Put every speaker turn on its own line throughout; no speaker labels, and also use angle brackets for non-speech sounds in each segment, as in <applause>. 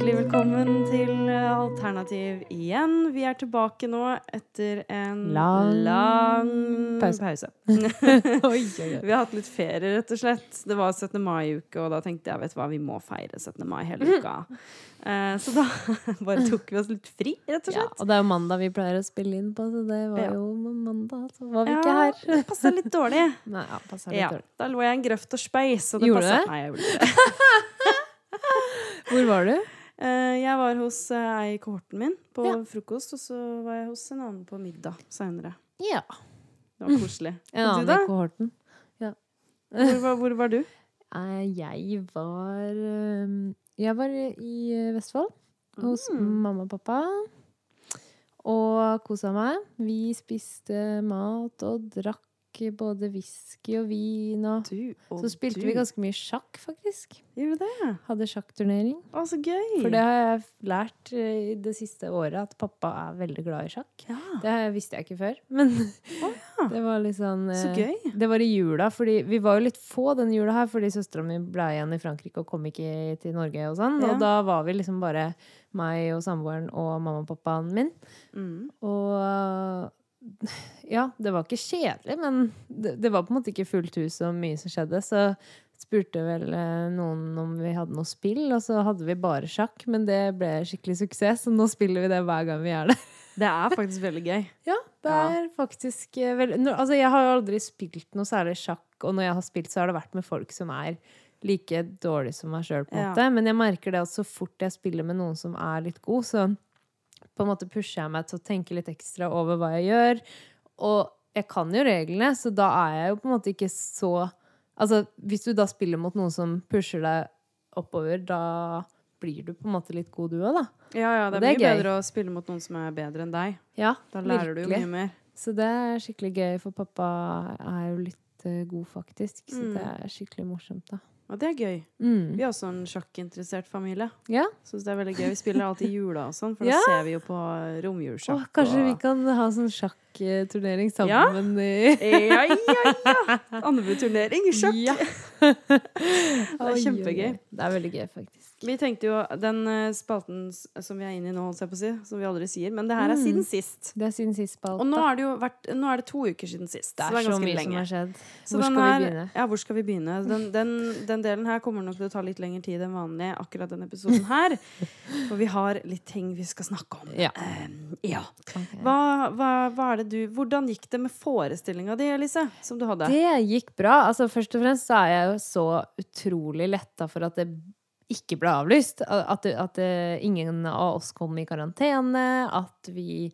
velkommen til eh, Alternativ igjen. Vi er tilbake nå etter en
Lang
lang
pause.
pause. <laughs>
Oi, oi, oi.
Vi har hatt litt ferie, rett og slett. Det var 17. mai-uke, og da tenkte jeg vet du hva, vi må feire 17. mai
Mm.
hele uka. Eh, så da <laughs> bare tok vi oss litt fri, rett og
Ja,
slett.
og det er jo mandag vi pleier å spille inn på, så det
Ja.
var jo mandag. Så var vi ikke her. <laughs>
det passa litt dårlig.
Nei, ja, passer litt
Ja,
dårlig.
da lå jeg i en grøft og speis. og det
Gjorde du
passet-
det?
Nei, jeg gjorde ikke det.
Hvor var du?
Eh, jeg var hos eh, ei i kohorten min på
Ja.
frokost, og så var jeg hos en annen på middag seinere.
Ja.
Det var koselig. Og
En
du,
annen
da?
i kohorten.
Hvor var, hvor var du?
Eh, Jeg var eh, Jeg var i eh, Vestfold hos
Mm.
mamma og pappa. Og kosa meg. Vi spiste mat og drakk både whisky og vin og
Du og
Så spilte vi ganske mye sjakk, faktisk.
Gjorde vi det?
Hadde sjakkturnering.
Å, så gøy!
For det har jeg lært eh, i det siste året, at pappa er veldig glad i sjakk.
Ja.
Det har jeg- visste jeg ikke før, men
ja.
<laughs> det var litt sånn
Så
eh,
gøy.
Det var i jula, fordi vi var jo litt få den jula her, fordi søstera mi ble igjen i Frankrike og kom ikke til Norge og sånn.
Ja.
Og da var vi liksom bare meg og samboeren og mamma og pappaen min.
Mm.
Og eh, <laughs> ja, det var ikke kjedelig, men det, det var på en måte ikke fullt hus og mye som skjedde. Så spurte vel eh, noen om vi hadde noe spill, og så hadde vi bare sjakk. Men det ble skikkelig suksess, så nå spiller vi det hver gang vi er der.
Det er faktisk veldig gøy.
Ja, det
Ja.
er faktisk eh, veldig nå- Altså, jeg har jo aldri spilt noe særlig sjakk, og når jeg har spilt, så har det vært med folk som er like dårlig som meg sjøl, på en
Ja.
måte. Men jeg merker det at så fort jeg spiller med noen som er litt god, så på en måte pusher jeg meg til å tenke litt ekstra over hva jeg gjør. Og jeg kan jo reglene, så da er jeg jo på en måte ikke så Altså, hvis du da spiller mot noen som pusher deg oppover, da blir du på en måte litt god, du òg, da.
Ja, ja, det er,
Det er
mye
gøy.
bedre å spille mot noen som er bedre enn deg.
Ja,
Da lærer du jo mye mer.
Så det er skikkelig gøy, for pappa er jo litt eh, god, faktisk. Så
Mm.
det er skikkelig morsomt, da.
Og det er gøy.
Mm.
Vi er også en sjakkinteressert familie.
Ja.
Synes det er veldig gøy. Vi spiller alltid i jula og sånn, for
Ja.
da ser vi jo på eh,
Åh,
romjulssjakk.
kanskje vi
og-
kan ha sånn sjakkturnering
Ja.
sammen i
Ja, ja, ja! Andebuturnering i <laughs> sjakk. <laughs>
Ja.
Det er kjempegøy.
Det er veldig gøy, faktisk.
Vi tenkte jo den eh, spalten s- som vi er inne i nå, holdt jeg på å si, som vi aldri sier, men det her er
Mm.
siden sist.
Det er siden sist spalte.
Og nå er det jo vært, nå er det to uker siden sist.
det
så
er så
ganske
mye som
lenge.
har skjedd.
Så
Hvor
den
skal vi
her-
begynne?
Ja, hvor skal vi begynne? Den, den, den delen her kommer nok til å ta litt lengre tid enn vanlig, akkurat denne episoden her. For vi har litt ting vi skal snakke om.
Ja.
Ehm, ja.
Ok.
Hva, hva, hva er det du Hvordan gikk det med forestillinga di, Elise? Som du hadde?
Det gikk bra. Altså, først og fremst så er jeg jo så utrolig letta for at det ikke ble avlyst. At, det- at det, ingen av oss kom i karantene. At vi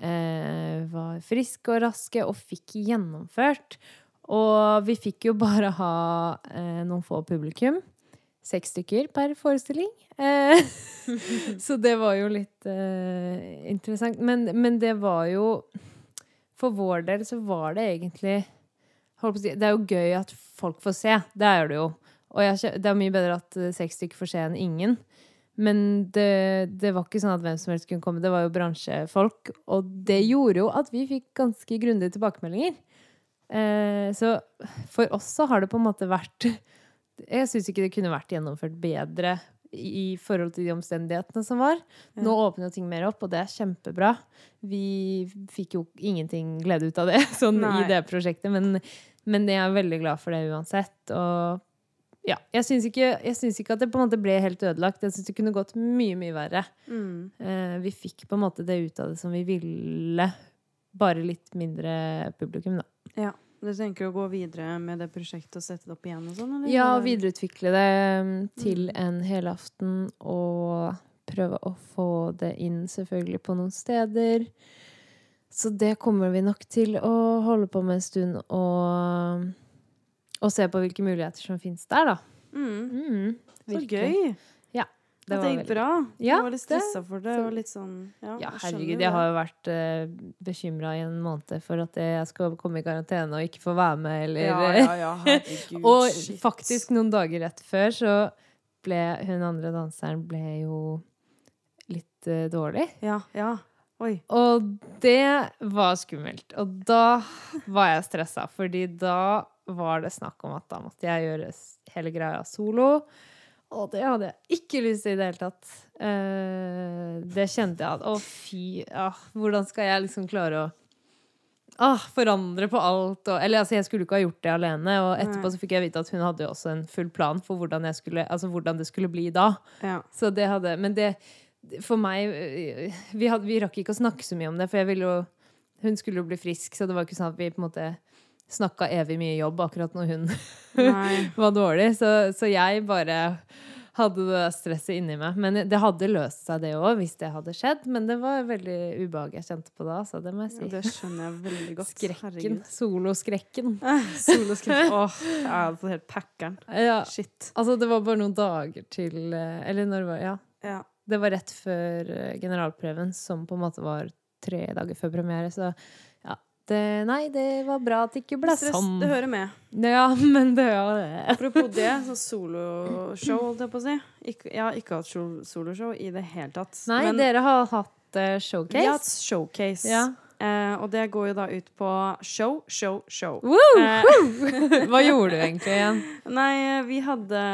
eh, var friske og raske og fikk gjennomført. Og vi fikk jo bare ha eh, noen få publikum. Seks stykker per forestilling. Eh, <laughs> så det var jo litt eh, interessant. Men, men det var jo For vår del så var det egentlig holdt på å si, Det er jo gøy at folk får se. Det er det jo. Og jeg, skjø- det er mye bedre at eh, seks stykker får se enn ingen. Men det, det var ikke sånn at hvem som helst kunne komme. Det var jo bransjefolk. Og det gjorde jo at vi fikk ganske grundige tilbakemeldinger. Eh, så for oss så har det på en måte vært <laughs> Jeg syns ikke det kunne vært gjennomført bedre i i forhold til de omstendighetene som var. Nå åpner jo ting mer opp, og det er kjempebra. Vi fikk jo ingenting glede ut av det <laughs> sånn
Nei.
i det prosjektet, men, men jeg er veldig glad for det uansett. Og ja, jeg syns ikke, jeg syns ikke at det på en måte ble helt ødelagt. Jeg syns det kunne gått mye, mye verre.
Mm.
Eh, vi fikk på en måte det ut av det som vi ville, bare litt mindre publikum, da.
Ja. Du tenker å gå videre med det prosjektet og sette det opp igjen og sånn, eller?
Ja,
Eller-
videreutvikle det mm, til en helaften og prøve å få det inn selvfølgelig på noen steder. Så det kommer vi nok til å holde på med en stund og, og se på hvilke muligheter som finnes der, da.
Mm.
Mm,
Så
virkelig.
gøy!
Det
At
var
det gikk
veldig
bra.
Ja,
du var litt
det-
stressa for det.
så-
Og litt sånn, ja,
Ja,
jeg skjønner jo
herregud,
det.
jeg har jo vært uh, bekymra i en måned for at jeg skal komme i karantene og ikke få være med, eller
Ja, ja, ja, <laughs> herregud.
Og
shit.
faktisk noen dager rett før så ble hun andre danseren ble jo litt eh, dårlig.
Ja, ja. Oi.
Og det var skummelt. Og da var jeg stressa, fordi da var det snakk om at da måtte jeg gjøre s- hele greia solo. Å, det hadde jeg ikke lyst til i det hele tatt. Eh, det kjente jeg at Å, fy. ah, hvordan skal jeg liksom klare å ah, forandre på alt? Og, eller altså, jeg skulle ikke ha gjort det alene. Og etterpå
Nei.
så fikk jeg vite at hun hadde jo også en full plan for hvordan, jeg skulle, altså, hvordan det skulle bli da.
Ja.
Så det hadde Men det For meg øh, vi, hadde, vi rakk ikke å snakke så mye om det, for jeg ville jo Hun skulle jo bli frisk, så det var ikke sånn at vi på en måte snakka evig mye jobb akkurat når hun <laughs>
Nei.
var dårlig. Så, så jeg bare hadde det der stresset inni meg. Men det hadde løst seg, det òg, hvis det hadde skjedd. Men det var veldig ubehag jeg kjente på da, så det må
Ja,
jeg si.
Det skjønner jeg veldig godt.
Skrekken.
Herregud.
Soloskrekken.
Soloskrekk. Åh, jeg hadde fått helt packeren.
Ja.
Shit.
Altså, det var bare noen dager til eh, Eller når var Ja,
Ja.
Det var rett før eh, generalprøven, som på en måte var tre dager før premiere, så ja. Det, nei, det var bra at det ikke ble
Stress,
sånn.
det hører med.
Ja, <laughs> men det var det.
Apropos det, sånn soloshow, holdt jeg på å si. Ikke, jeg har ikke hatt sol- soloshow i det hele tatt.
Nei,
Men
dere har hatt eh,
vi har hatt
showcase.
showcase.
Ja.
Eh, og det går jo da ut på show, show, show.
Woo!
Eh,
<laughs> Hva gjorde du egentlig igjen? <laughs>
nei, vi hadde,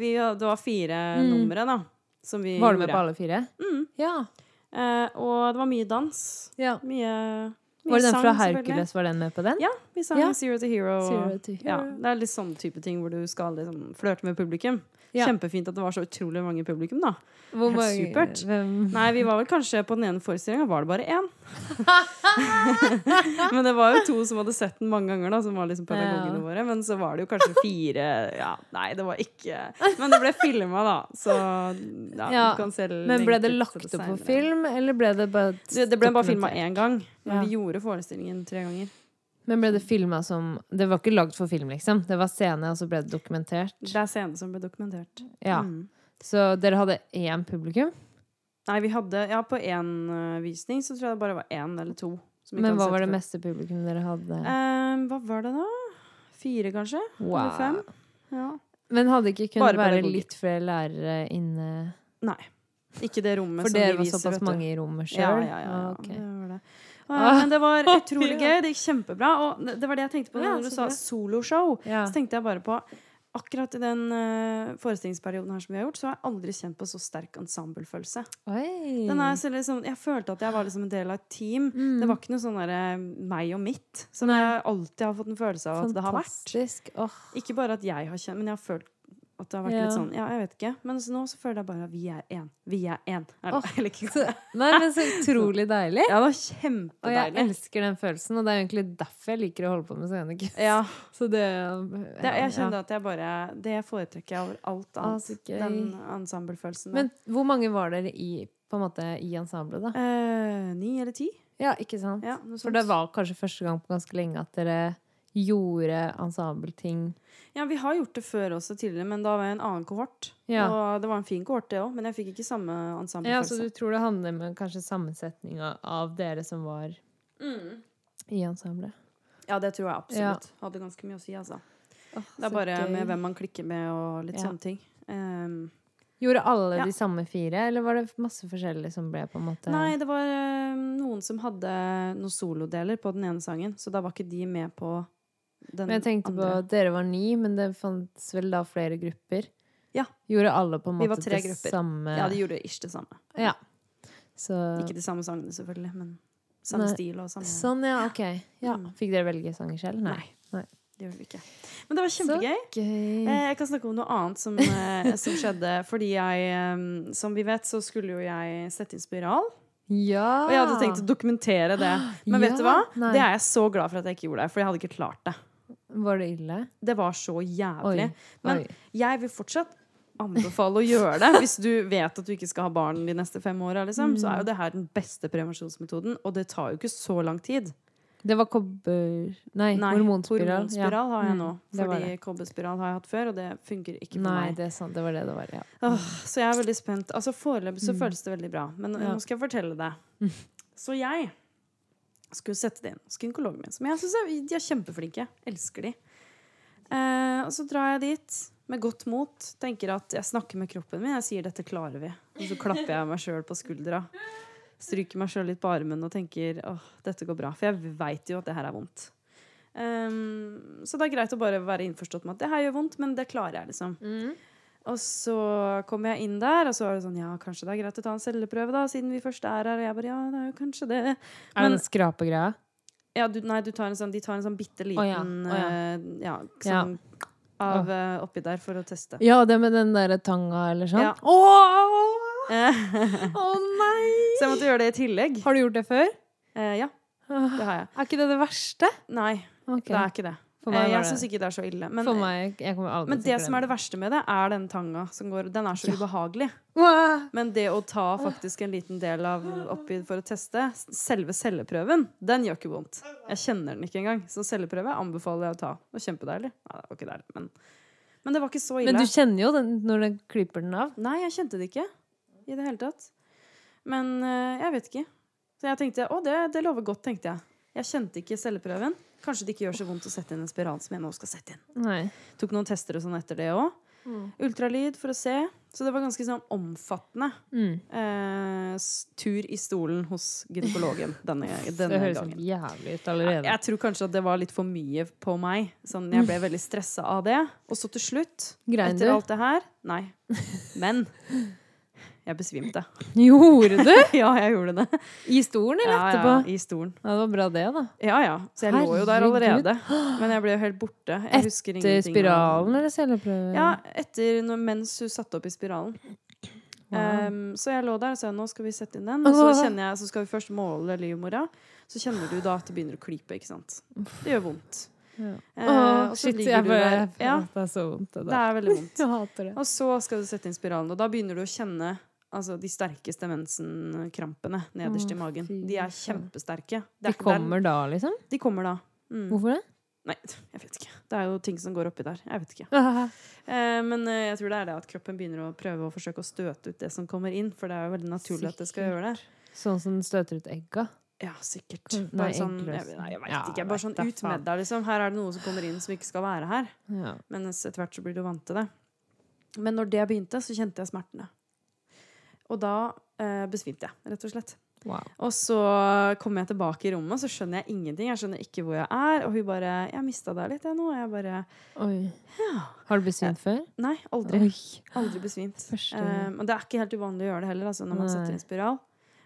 vi hadde Det var fire
Mm.
numre, da. Som vi
Var du med
gjorde.
på alle fire?
Mm.
Ja.
Eh, og det var mye dans.
ja.
Mye, mye
Var det den fra
selvfølgelig.
Hercules? Var den med på den?
Ja, vi sang
Ja.
Zero to Hero. og-
Zero to
Ja,
Hero.
det er litt sånn type ting hvor du skal liksom flørte med publikum.
Ja.
Kjempefint at det var så utrolig mange i publikum, da.
Hvor
Helt
mange-
supert.
Hvem?
Nei, vi var vel kanskje på den ene forestillinga var det bare
<laughs>
én. men det var jo to som hadde sett den mange ganger, da, som var liksom pedagogene
Ja.
våre. Men så var det jo kanskje fire Ja, nei, det var ikke Men det ble filma, da. Så ja,
Ja,
du kan se lenken
Men ble det
til
lagt opp på
senere.
film, eller ble det bare
Det, det ble bare filma én gang. Men
Ja.
vi gjorde forestillingen tre ganger.
Men ble det filma som Det var ikke lagd for film, liksom. Det var scene, og så ble det dokumentert.
Det er scenen som ble dokumentert.
Ja.
Mm.
Så dere hadde én publikum?
Nei, vi hadde Ja, på én eh, visning så tror jeg det bare var én eller to. som ikke
Men
hadde
hva
sett
var det
før.
meste publikum dere hadde?
Eh, hva var det da? Fire, kanskje? eller fem? Ja.
Men hadde ikke kunnet
Bare
være
pedagoger.
litt flere lærere inne?
Ikke det rommet
For
som
dere
vi
var
viser.
såpass
vet du.
mange i rommet
Ja,
sjøl?
ja, ja. ja.
Ah, ok.
Det
<laughs>
var det. Ah, ja, men det var utrolig gøy. Det gikk kjempebra. Og det- det var det jeg tenkte på
Ja,
når du
så
sa
bra.
soloshow.
Ja.
Så tenkte jeg bare på Akkurat i den eh, forestillingsperioden her som vi har gjort, så har jeg aldri kjent på så sterk ensemblefølelse.
Oi.
Den er så liksom, jeg følte at jeg var liksom en del av et team.
Mm.
Det var ikke noe sånn der, eh, meg og mitt, som
Nei.
jeg alltid har fått en følelse av at altså, det har vært.
Fantastisk. Åh,
Ikke bare at jeg har kjent, men jeg har følt at det har vært
Ja.
litt sånn Ja, jeg vet ikke. Men så nå så føler jeg bare at vi er én. Vi er én. Er det- <laughs>
Åh.
eller ikke?
så, nei,
<laughs>
men så utrolig deilig.
Ja, det var
Og jeg
kjempedeilig.
elsker den følelsen, og det er jo egentlig derfor jeg liker å holde på med scenekunst.
Ja,
<laughs> Så det
det, jeg
ja.
kjenner at jeg bare Det foretrekker jeg over alt
Å,
annet.
så gøy.
Den ensemblefølelsen der.
Men hvor mange var dere i, på en måte, i ensemblet, da?
Eh, ni eller ti?
Ja, ikke sant?
Ja, noe
For
sånt.
det var kanskje første gang på ganske lenge at dere gjorde ensembleting.
Ja, vi har gjort det før også tidligere, men da var jeg i en annen kohort.
Ja.
Og det var en fin kohort, det òg, men jeg fikk ikke samme
Ja, så
ensemblefølelse.
du tror det handler med kanskje sammensetninga av dere som var i ensemblet?
Ja, det tror jeg absolutt. Hadde ganske mye å si, altså. Det er bare med hvem man klikker med og litt
Ja.
sånne ting. Ehm,
Gjorde alle
Ja.
de samme fire, eller var det masse forskjellige som ble på en måte
nei, det var eh, noen som hadde noen solodeler på den ene sangen, så da var ikke de med på den
Men jeg tenkte
andre.
på Dere var ni, men det fantes vel da flere grupper?
Ja.
Gjorde alle på en
Vi
måte
var tre
det
grupper.
samme
Ja, de gjorde ish det samme.
Ja. Så
Ikke de samme sangene, selvfølgelig, men samme
Nei.
stil og samme
Sånn, ja, ok. Ja.
Mm.
Fikk dere velge sanger selv? Nei.
Nei. Det gjorde vi ikke. Men det var kjempegøy.
Gøy.
Eh, Jeg kan snakke om noe annet som, eh, som skjedde. Fordi jeg, eh, som vi vet, så skulle jo jeg sette inn spiral.
ja.
Og jeg hadde tenkt å dokumentere det. Men vet du hva?
Ah. Ja, nei.
Det er jeg så glad for at jeg ikke gjorde det, for jeg hadde ikke klart det.
Var det ille?
Det var så jævlig. Men
Oi.
jeg vil fortsatt anbefale å gjøre det. Hvis du vet at du ikke skal ha barn de neste fem åra, liksom, så er
Mm.
jo det her den beste prevensjonsmetoden. Og det tar jo ikke så lang tid.
Det var kobber...
Nei,
Nei, hormonspiral. Ja.
hormonspiral har jeg nå.
Mm, det var
Fordi kobberspiral har jeg hatt før, og det funker ikke for
Nei,
meg.
det, er sant. det var det det var. Ja.
Åh, så jeg er veldig spent. Altså Foreløpig så føles det veldig bra. Men
Ja.
nå skal jeg fortelle deg. Så jeg skulle sette det inn hos gynekologen min. Som jeg synes er, de er kjempeflinke. Elsker de. Eh, og så drar jeg dit med godt mot. Tenker at jeg snakker med kroppen min. Jeg sier 'dette klarer vi'. Og så klapper jeg meg sjøl på skuldra. Stryker meg sjøl litt på armen og tenker 'åh, dette går bra'. For jeg veit jo at det her er vondt. Ehm,
Mm.
Eh, så det er greit å bare være innforstått med at det her gjør vondt, men det klarer jeg, liksom. Og så kom jeg inn der, og så var det sånn Ja, kanskje det er greit å ta en celleprøve, da, siden vi først er her. Og jeg bare Ja, det er jo kanskje det.
Er det
Men-
den skrapegreia?
Ja, du, nei, du tar en sånn, de tar en sånn bitte liten
Å ja, å ja.
eh, ja, sånn, av eh, oppi der for å teste.
Ja, det med den derre tanga eller sånn?
Ja.
<laughs> Åh,
Eh,
Å nei!
så jeg måtte gjøre det i tillegg.
Har du gjort det før?
Eh, ja, det
Er
har jeg.
ikke det det verste?
Nei, det er ikke det.
For
Eh,
meg var
jeg syns
det
ikke det er så ille. Men,
For meg, jeg kommer aldri
men det som er det verste med det, er den tanga som går Den er så
Ja.
ubehagelig.
verste
Men det å ta faktisk en liten del av oppi for å teste s- Selve celleprøven, den gjør ikke vondt. Jeg kjenner den ikke engang. Så celleprøve anbefaler jeg å ta. Det var kjempedeilig. Nei, det var ikke deilig, men, men det var ikke så ille.
Men du kjenner jo den når den klipper den av.
Nei, jeg kjente det ikke i det hele tatt. Men eh, jeg vet ikke. Så jeg tenkte å, det, det lover godt, tenkte jeg. Jeg kjente ikke celleprøven. Kanskje det ikke gjør så vondt å sette inn en spiral som jeg nå skal sette inn.
Nei.
Tok noen tester og sånn etter det òg.
Mm.
Ultralyd for å se. Så det var ganske sånn omfattende
Mm.
eh, s- tur i stolen hos
<laughs>
gynekologen denne,
Det
denne
høres
gangen.
sånn jævlig ut
Jeg,
allerede.
jeg tror kanskje at det var litt for mye på meg. Sånn, jeg ble veldig stressa av det. Og så til slutt,
Grein
etter
du?
alt det her Nei. Men jeg besvimte.
<laughs>
<laughs>
Gjorde du?
Ja, jeg gjorde det.
I stolen eller
Ja, ja,
etterpå?
I stolen.
Ja, det var bra det, da.
Ja, ja. Så jeg lå jo der
Herregud.
allerede. Men jeg ble jo helt borte. Jeg husker
Til
ingenting.
spiralen eller celleprøven?
Ja, etter når, mens hun satte opp i spiralen.
Wow.
Ehm, så jeg lå der og sa nå skal vi sette inn den. Og så, kjenner jeg, så skal vi først måle livmora. Så kjenner du da at det begynner å klype. ikke sant? Det gjør vondt.
Ja.
Eh,
Åh,
og så
shit,
ligger
jeg
du
bare
der.
jeg føler
Ja,
at Det er så vondt, det
det
der.
er veldig vondt.
Jeg hater det.
Og så skal du sette inn spiralen, og da begynner du å kjenne altså, de sterkeste mensenkrampene nederst i magen.
fy
De er
faen.
kjempesterke. Det er
De
ikke-
kommer da, liksom?
Der, de kommer da. Mm. <laughs>
Hvorfor det?
Nei, jeg vet ikke. Det er jo ting som går oppi der. Jeg vet ikke.
Ah,
Eh, men eh, jeg tror det er det at kroppen begynner å prøve å forsøke å støte ut det som kommer inn, for det er jo veldig naturlig at det skal
Sikkert.
gjøre det.
Sånn som den støter ut egga?
Ja, sikkert.
Kan-
Bare
nei,
sånn,
eggløsning.
jeg, nei, jeg veit
Ja,
ikke. Bare sånn
vet da
ut med deg, liksom. Her er det noe som kommer inn som ikke skal være her.
Ja.
Men etter hvert så blir du vant til det. Men når det begynte, så kjente jeg smertene. Og da eh, besvimte jeg, rett og slett.
Wow.
Og så kom jeg tilbake i rommet, så skjønner jeg ingenting. Jeg skjønner ikke hvor jeg er. Og hun bare 'Jeg mista deg litt, jeg nå.' Og jeg bare
Oi. Har du besvimt før?
Nei, aldri.
Oi.
Aldri besvimt.
Første-
Um, og det er ikke helt uvanlig å gjøre det heller, altså, når man
Nei.
setter inn spiral.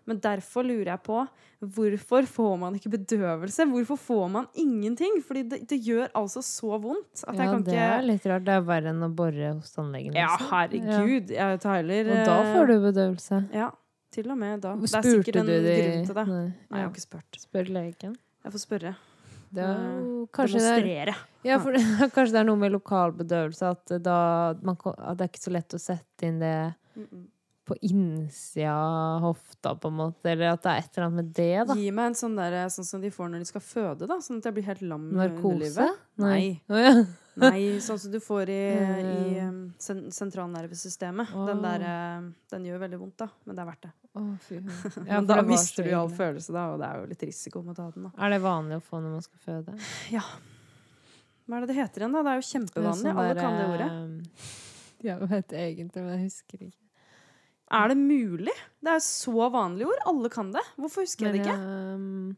Men derfor lurer jeg på hvorfor får man ikke bedøvelse? Hvorfor får man ingenting? Fordi det, det gjør altså så vondt at jeg
Ja,
kan
det
ikke
er litt rart. Det er verre enn å bore hos tannlegen.
Ja,
liksom.
herregud. Jeg tar heller eh,
Og da får du bedøvelse.
Ja, til og med da. Det er
Spurte
sikkert en
du de-
grunn til det.
Nei,
Nei, jeg
ja.
har ikke spurt.
Spør legen.
Jeg får spørre.
Det er jo kanskje det er,
Demonstrere.
ja, for, <laughs> kanskje det er noe med lokal bedøvelse at, da, man, ko- at det er ikke så lett å sette inn det
Mm-mm.
på innsida av hofta, på en måte. Eller at det er et eller annet med det, da.
Gi meg en sånn der, sånn som de får når de skal føde, da. Sånn at jeg blir helt lam i
Narkose?
underlivet. Nei.
Å,
<laughs>
ja.
Nei, sånn som du får i, i
Eh.
um, sen sentralnervesystemet.
Åh.
Den der eh, Den gjør veldig vondt, da. Men det er verdt det.
Å, fy.
<laughs>
faen. Ja,
Men da
for det var så
mister du jo all
ille.
følelse, da, og det er jo litt risiko med å ta den, da.
Er det vanlig å få når man skal føde?
Hva er det det heter igjen, da? Det er jo kjempevanlig.
Det er sånn
Alle
der,
kan det ordet.
eh, Ja, jeg vet egentlig, men jeg husker ikke.
Er det mulig? Det er jo så vanlige ord. Alle kan det. Hvorfor husker jeg det ikke?
ehm,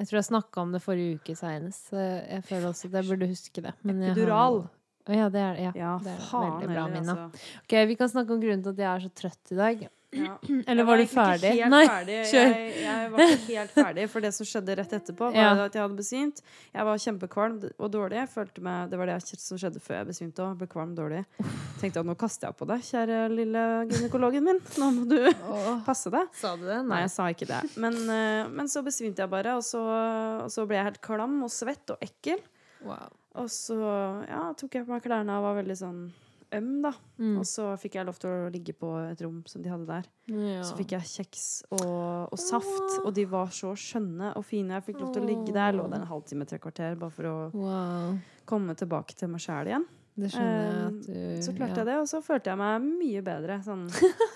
jeg tror jeg snakka om det forrige uke seinest. så Jeg føler også at jeg burde huske det. Men jeg har-
Epidural.
Å ja, det er det. Ja.
Ja,
det er
faen
veldig bra,
heller,
Mina.
altså.
Ok, vi kan snakke om grunnen til at jeg er så trøtt i dag.
Ja.
Eller var du
Jeg egentlig
ferdig?
Mm, Ikke helt
Nei,
ferdig.
kjør.
Jeg, jeg var ikke helt ferdig, for det som skjedde rett etterpå, var
Ja.
jo at jeg hadde besvimt. Jeg var kjempekvalm og dårlig. Jeg følte meg, det var det jeg- som skjedde før jeg besvimte òg. Ble kvalm dårlig. Tenkte at nå kaster jeg på deg, kjære lille gynekologen min. Nå må du
Åh,
passe deg.
sa du det?
Nei, jeg sa ikke det. Men, eh, men så besvimte jeg bare, og så, og så ble jeg helt klam og svett og ekkel.
Wow.
Og så ja, tok jeg på meg klærne og var veldig sånn øm, da.
Mm.
Og så fikk jeg lov til å ligge på et rom som de hadde der.
Ja.
Så fikk jeg kjeks og, og saft,
Åh.
og de var så skjønne og fine. Jeg fikk lov til å ligge der. Jeg lå der en halvtime, tre kvarter, bare for å
Wow.
komme tilbake til meg sjæl igjen.
Det skjønner jeg
Ehm,
at du
Så klarte jeg det, og så følte jeg meg mye bedre. Sånn.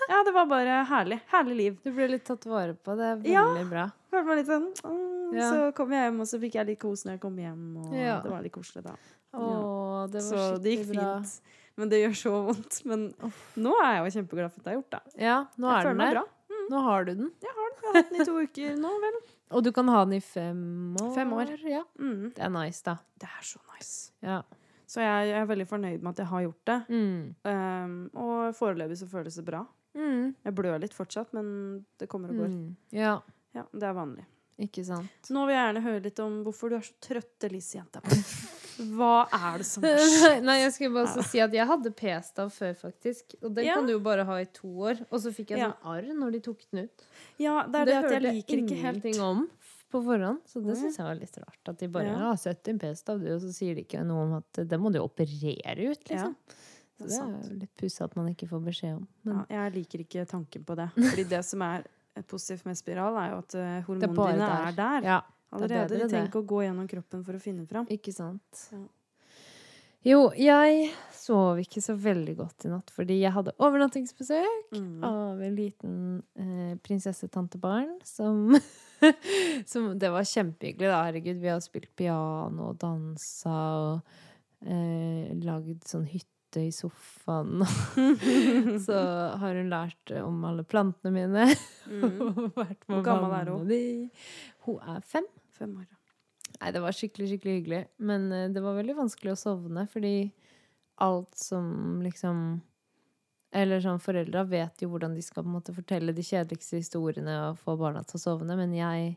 Ja, det var bare herlig. Herlig liv.
Du ble litt tatt vare på. Det er
Ja.
veldig bra.
Følte meg litt sånn «Åh»,
Ja.
Så kom jeg hjem, og så fikk jeg litt kos når jeg kom hjem, og
Ja.
det var litt koselig da.
Åh, det var
Så det gikk
skikkelig bra.
fint. Men det gjør så vondt. Men nå er jeg jo kjempeglad for at jeg har gjort det.
Ja, nå
Jeg føler
er den
meg
der.
bra.
Nå har du den.
Jeg har hatt den i to uker nå, vel.
Og du kan ha den i fem år.
Fem år.
Ja.
Mm.
Det er nice, da.
Det er så nice.
Ja.
Så jeg, jeg er veldig fornøyd med at jeg har gjort det.
Mm.
Ehm, og foreløpig så føles det bra.
Mm.
Jeg blør litt fortsatt, men det kommer og går.
Mm. Ja,
Ja, Det er vanlig.
ikke
<laughs>
sant.
Nå vil jeg gjerne høre litt om hvorfor du er så trøtt, Elise, jenta. Hva er det som er skjedd?
Nei, jeg skulle bare så si at jeg hadde p-stav før, faktisk. Og den
Ja.
kan du jo bare ha i to år. Og så fikk jeg
Ja.
sånn arr når de tok den ut.
Ja, det er det, at jeg liker ikke helt
ingenting om på forhånd, så
Å, ja.
det syns jeg var litt rart. At de bare
Ja.
ja. 70 p-stav, du, og så sier de ikke noe om at det må du jo operere ut,
Ja,
liksom.
det
Så
er
det er
sant.
jo litt pussig at man ikke får beskjed om. Men
ja, jeg liker ikke tanken på
<laughs>
det. Fordi det som er positivt med spiral, er jo at eh,
det er bare
hormonene
der.
er der.
Ja, det er
Allerede.
bedre
De trenger
det.
ikke å gå gjennom kroppen for å finne fram.
ikke sant.
Ja.
Jo, jeg sov ikke så veldig godt i natt fordi jeg hadde overnattingsbesøk. <laughs>
Mm.
av en liten eh, prinsessetantebarn som, <laughs> som Det var kjempehyggelig, da. Herregud, vi har spilt piano og dansa og eh, lagd sånn hytte i sofaen. <laughs> Så har hun lært om alle plantene mine.
Mm.
og <laughs> vært med
Hvor
å
gammel er
vanne
hun?
de. Hun er fem.
Fem år.
Nei, det var skikkelig, skikkelig hyggelig. Men eh, det var veldig vanskelig å sovne, fordi alt som liksom Eller sånn, foreldra vet jo hvordan de skal på en måte fortelle de kjedeligste historiene og få barna til å sovne, men jeg,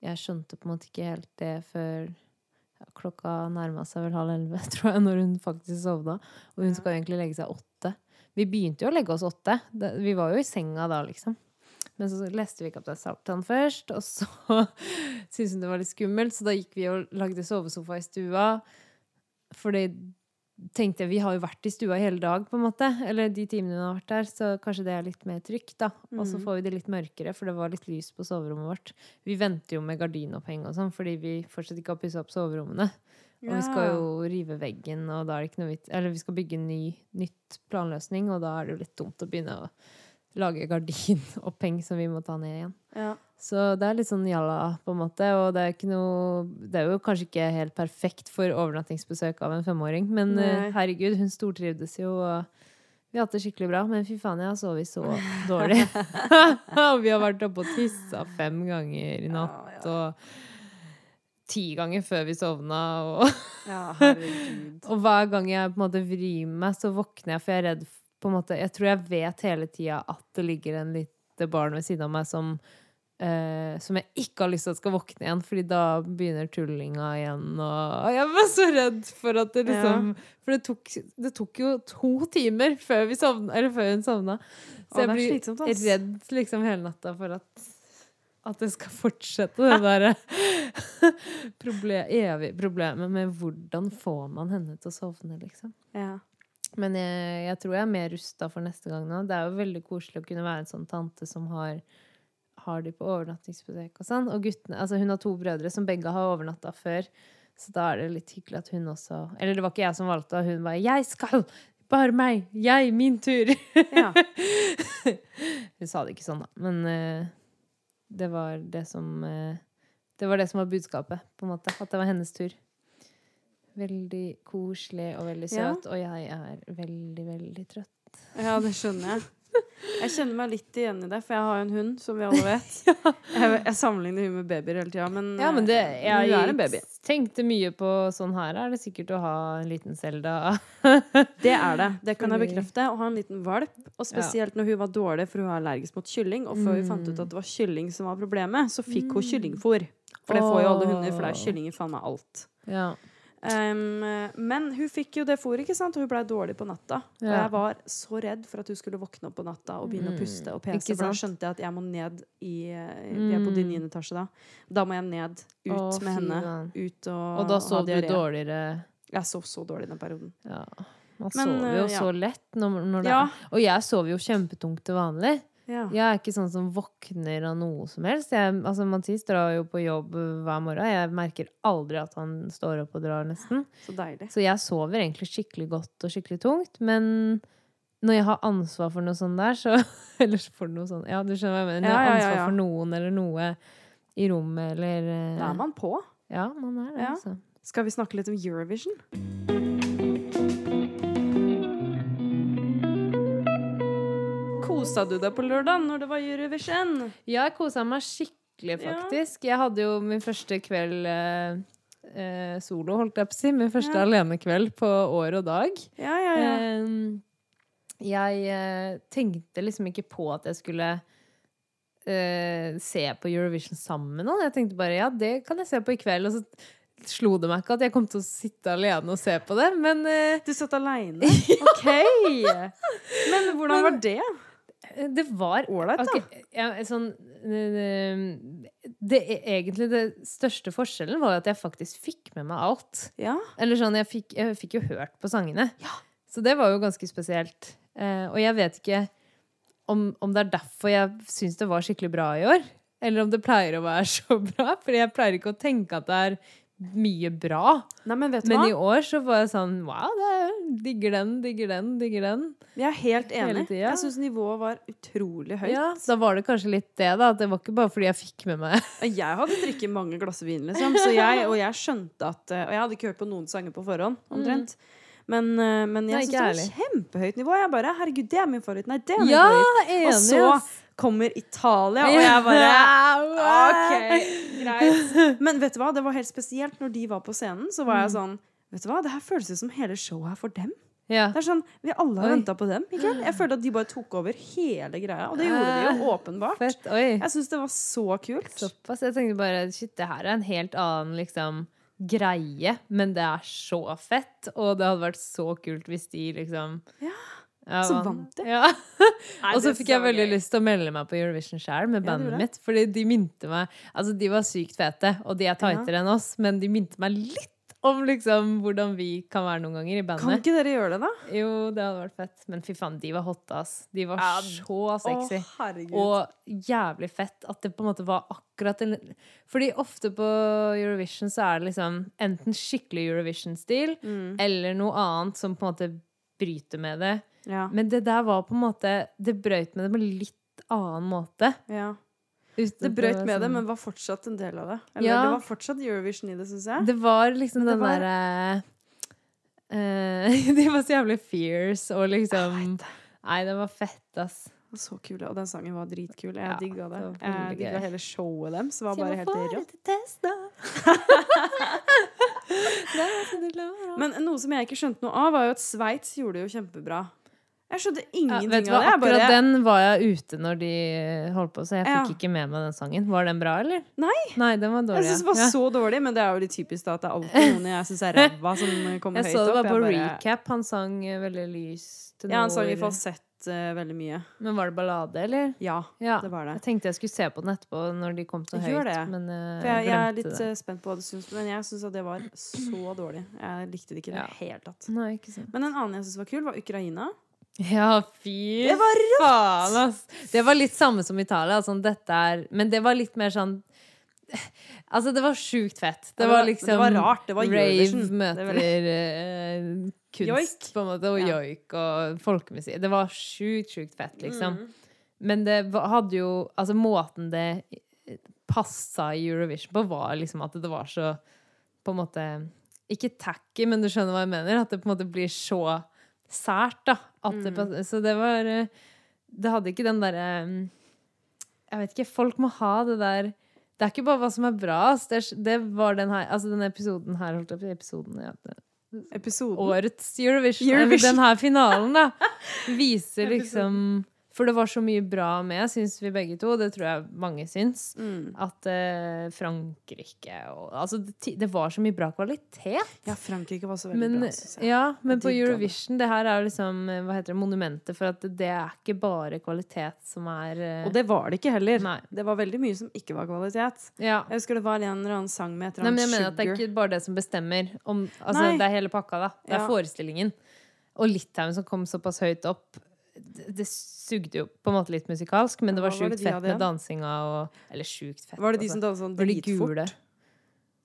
jeg skjønte på en måte ikke helt det før ja, klokka nærma seg vel halv elleve, <laughs> tror jeg, når hun faktisk sovna.
Ja.
Og hun skal jo egentlig legge seg åtte. Vi begynte jo å legge oss åtte. Det, vi var jo i senga da, liksom. Men så leste vi Kaptein Sabeltann først, og så <laughs> syntes hun det var litt skummelt, så da gikk vi og lagde sovesofa i stua. For det tenkte jeg, vi har jo vært i stua hele dag, på en måte. Eller de timene hun har vært der, så kanskje det er litt mer trygt, da. Og så
Mhm.
får vi det litt mørkere, for det var litt lys på soverommet vårt. Vi venter jo med gardinoppheng og sånn, fordi vi fortsatt ikke har pussa opp soverommene. Og vi skal jo rive veggen, og da er det ikke noe vits Eller vi skal bygge en ny, nytt planløsning, og da er det jo litt dumt å begynne å lage <laughs> gardinoppheng som vi må ta ned igjen.
ja.
Så det er litt sånn jalla, på en måte. Og det er, ikke noe, det er jo kanskje ikke helt perfekt for overnattingsbesøk av en femåring, men
Nei.
eh, herregud, hun stortrivdes jo. Og vi har hatt det skikkelig bra, men fy faen, jeg har
<laughs>
sovet så dårlig. <laughs> og vi har vært oppe og tissa fem ganger i natt,
Ja,
og ti ganger før vi sovna. Og,
Ja,
<laughs>
herregud.
og hver gang jeg på en måte vrir meg, så våkner jeg, for jeg er redd f- på en måte, Jeg tror jeg vet hele tida at det ligger en lite barn ved siden av meg som eh, som jeg ikke har lyst til at skal våkne igjen, Fordi da begynner tullinga igjen. Og jeg var så redd for at det liksom For det tok, det tok jo to timer før, vi sovna, eller før hun sovna.
Å,
Så jeg
det er
blir
slitsomt, ass.
redd liksom hele natta for at, at det skal fortsette, det derre <laughs> proble evige problemet med hvordan får man henne til å sovne, liksom.
Ja.
Men jeg, jeg tror jeg er mer rusta for neste gang nå. Det er jo veldig koselig å kunne være en sånn tante som har, har de på overnattingsbesøk og sånn. Og guttene, altså hun har to brødre som begge har overnatta før, så da er det litt hyggelig at hun også Eller det var ikke jeg som valgte, hun bare 'Jeg skal! Bare meg! Jeg! Min tur!'
ja.
Hun sa det ikke sånn, da. Men eh, det var det som eh, Det var det som var budskapet, på en måte. At det var hennes tur. Veldig koselig og veldig
Ja.
søt, og jeg er veldig, veldig trøtt.
Ja, det skjønner jeg. Jeg kjenner meg litt igjen i det, for jeg har jo en hund, som vi alle
<laughs>
vet. Jeg, jeg sammenligner hun med babyer hele tida, men,
Ja, men det,
eh,
jeg
hun er en baby.
tenkte mye på sånn her er det sikkert å ha en liten Selda.
<laughs> Det er det. Det kan jeg
Fordi-
bekrefte. Og ha en liten valp. Og spesielt når hun var dårlig, for hun er allergisk mot kylling. Og før vi fant ut at det var kylling som var problemet, så fikk
Mm.
hun kyllingfôr. For det får jo alle hunder, for det er kylling i faen meg alt.
Ja.
Um, men hun fikk jo det fôret, ikke sant? og hun blei dårlig på natta. Og
Ja.
jeg var så redd for at hun skulle våkne opp på natta og begynne å puste og pese.
Ikke
For da
sant?
skjønte jeg at jeg må ned i Vi er på din niende etasje da. Da må jeg ned. Ut
Å,
med
fy
henne.
faen.
Ut og,
Og da
ha
sov du
diaré.
dårligere.
Jeg sov så dårlig den perioden.
Ja. Man
Men,
sover jo
eh, ja.
så lett når, når det
Ja.
er Og jeg sover jo kjempetungt til vanlig.
Ja.
Jeg er ikke sånn som våkner av noe som helst. Jeg, altså, Mathis drar jo på jobb hver morgen. Jeg merker aldri at han står opp og drar, nesten.
Så deilig.
Så jeg sover egentlig skikkelig godt og skikkelig tungt. Men når jeg har ansvar for noe sånt der, så <laughs> Eller for noe sånt Ja, du skjønner hva jeg mener. Når jeg
Ja,
har
ja, ja,
ansvar
ja.
for noen eller noe i rommet eller eh,
Da er man på.
Ja, man er det,
Ja.
altså.
Skal vi snakke litt om Eurovision? Kosa du deg på lørdag når det var Eurovision?
Ja, jeg kosa meg skikkelig,
Ja.
faktisk. Jeg hadde jo min første kveld eh, eh, solo, holdt jeg på å si, min første
Ja.
alenekveld på år og dag.
Ja, ja, ja.
Ehm, jeg eh, tenkte liksom ikke på at jeg skulle eh, se på Eurovision sammen med noen. Jeg tenkte bare ja, det kan jeg se på i kveld. Og så slo det meg ikke at jeg kom til å sitte alene og se på det. Men eh,
Du satt <laughs> aleine? OK! Men hvordan var det?
det var
Ålreit, da.
Ok, ja, sånn, eh, det, egentlig det største forskjellen var jo at jeg faktisk fikk med meg alt.
Ja.
Eller sånn, jeg fikk, jeg fikk jo hørt på sangene. Så det var jo ganske spesielt. Eh, og jeg vet ikke om, om det er derfor jeg syns det var skikkelig bra i år. Eller om det pleier å være <laughs> så bra. For jeg pleier ikke å tenke at det er mye bra.
Nei, men vet du
Men
hva?
i år så var jeg sånn wow, det er, digger den, digger den, digger den.
Jeg er helt enig.
Hele tida.
Jeg syns nivået var utrolig høyt.
Ja, da var det kanskje litt det, da. At det var ikke bare fordi jeg fikk med meg
Jeg hadde drukket mange glass vin, liksom. Så jeg, og jeg skjønte at eh, Og jeg hadde ikke hørt på noen sanger på forhånd, omtrent. Men, eh, men
Nei,
Mm. jeg
ikke
syns det var kjempehøyt nivå. Jeg bare Herregud, det er min favoritt. Nei, det er min
<laughs> Ja,
favoritt.
enig!
Og så
ass.
kommer Italia, og jeg
<laughs>
bare
Ja,
OK, <laughs> greit. Men vet du hva, det var helt spesielt. Når de var på scenen, så var jeg sånn Vet du hva, det her føles ut som hele showet er for dem.
Ja.
Det er sånn, Vi alle har
Oi.
venta på dem. ikke sant? Jeg følte at de bare tok over hele greia. Og det gjorde de jo åpenbart.
Ah, Fett. Oi.
Jeg syns det var så kult.
Såpass. Jeg tenkte bare shit, det her er en helt annen liksom, greie, men det er så fett. Og det hadde vært så kult hvis de liksom
Ja.
ja,
Så vant de.
Ja.
Nei,
<laughs> Og så
det
fikk jeg
var
veldig
gøy.
lyst til å melde meg på Eurovision sjøl
Ja,
med
du
bandet
gjorde
mitt. Fordi de minte meg Altså, de var sykt fete, og de er tightere enn oss, men de minte meg litt om liksom hvordan vi kan være noen ganger i
Kan
bandet.
ikke dere gjøre det, da?
Jo, det hadde vært fett. Men fy faen, de var hotte, ass. De var
Ja,
så sexy.
Å, herregud.
Og jævlig fett at det på en måte var akkurat en Fordi ofte på Eurovision så er det liksom enten skikkelig Eurovision-stil
Mm.
eller noe annet som på en måte bryter med det.
ja,
Men det der var på en måte Det brøyt med det på en litt annen måte.
ja.
uten at
Det brøt
var
med det,
sånn-
men var fortsatt en del av det. Eller
Ja.
det var fortsatt Eurovision i det, syns jeg.
Det var liksom
Men det
den
var-
derre eh, <laughs> De var så jævlig fierce og liksom Nei, det var fett, ass.
Det var Så kule, Og den sangen var dritkul. Jeg
Ja,
digga det.
det var veldig
Jeg digga
gøy.
hele showet deres. Var bare helt rått.
<laughs>
<laughs>
sånn
Men noe som jeg ikke skjønte noe av, var jo at Sveits gjorde det jo kjempebra. Jeg skjønte
Ja,
ingenting
vet du hva,
av det. Jeg
akkurat
bare,
den var jeg ute når de holdt på, så jeg
Ja.
fikk ikke med meg den sangen. Var den bra, eller?
Nei.
Nei, den var dårlig.
jeg syns det var
ja.
så dårlig, men det er jo litt typisk da, at det er alltid noen jeg syns er ræva, som kommer
<laughs> jeg
høyt
så det
opp.
var på
bare-
recap. Han sang eh, veldig lyst
Ja, han sang i falsett eh, veldig mye.
Men var det ballade, eller?
Ja,
Ja.
det var det.
Jeg tenkte jeg skulle se på den etterpå når de kom så høyt,
Gjør det.
men eh,
For jeg, jeg er
glemte
litt
det.
eh, spent på hva du syns, men jeg syns at det var så dårlig. Jeg likte det ikke i det
Ja.
hele tatt.
Nei, ikke sant.
Men en annen jeg syns var kul, var Ukraina.
Ja, fy
Det var
faen, ass! Det var litt samme som Italia. Sånn, dette er Men det var litt mer sånn Altså, det var sjukt fett. Det,
det
var
var-
liksom
det var rart. Det var Eurovision.
rave
Det var-
møter eh, kunst,
Joik.
på en måte, og
Ja.
joik og folkemusikk. Det var sjukt, sjukt fett, liksom. Men det var- hadde jo Altså, måten det passa i Eurovision på, var liksom at det var så På en måte Ikke tacky, men du skjønner hva jeg mener? At det på en måte blir så sært, da. At det, pass- så det var eh, Det hadde ikke den derre mm, Jeg vet ikke, folk må ha det der det er ikke bare hva som er bra. ass. Det, er- det var den her, altså denne episoden her holdt jeg på, å si, episoden, ja, det-
Episoden.
Årets Eurovision,
Eurovision.
Eller den her finalen,
<laughs>
da, viser liksom For det var så mye bra med, syns vi begge to. Det tror jeg mange syns.
Mm.
At eh, Frankrike og Altså, det, ti- det var så mye bra kvalitet.
Ja, Frankrike var så veldig
Men, eh,
bra, syns jeg.
ja, men
Jeg
på
digga det.
Eurovision, det her er jo liksom eh, hva heter det, monumentet for at det er ikke bare kvalitet som er eh,
Og det var det ikke heller.
Nei.
Det var veldig mye som ikke var kvalitet.
ja.
Jeg husker det var en eller annen sang med et
Nei,
eller
men jeg
annet
mener at det er
sugar.
ikke bare det som bestemmer. Om, altså,
Nei.
det er hele pakka, da. Det er
Ja.
forestillingen. Og Litauen som kom såpass høyt opp, det, det sugde jo på en måte litt musikalsk, men det
Hva
var
var
sjukt
det de
fett
hadde
med
igjen?
dansinga og Eller sjukt fett.
Var det de
altså.
som dansa sånn
Det var de
dritfort?
gule.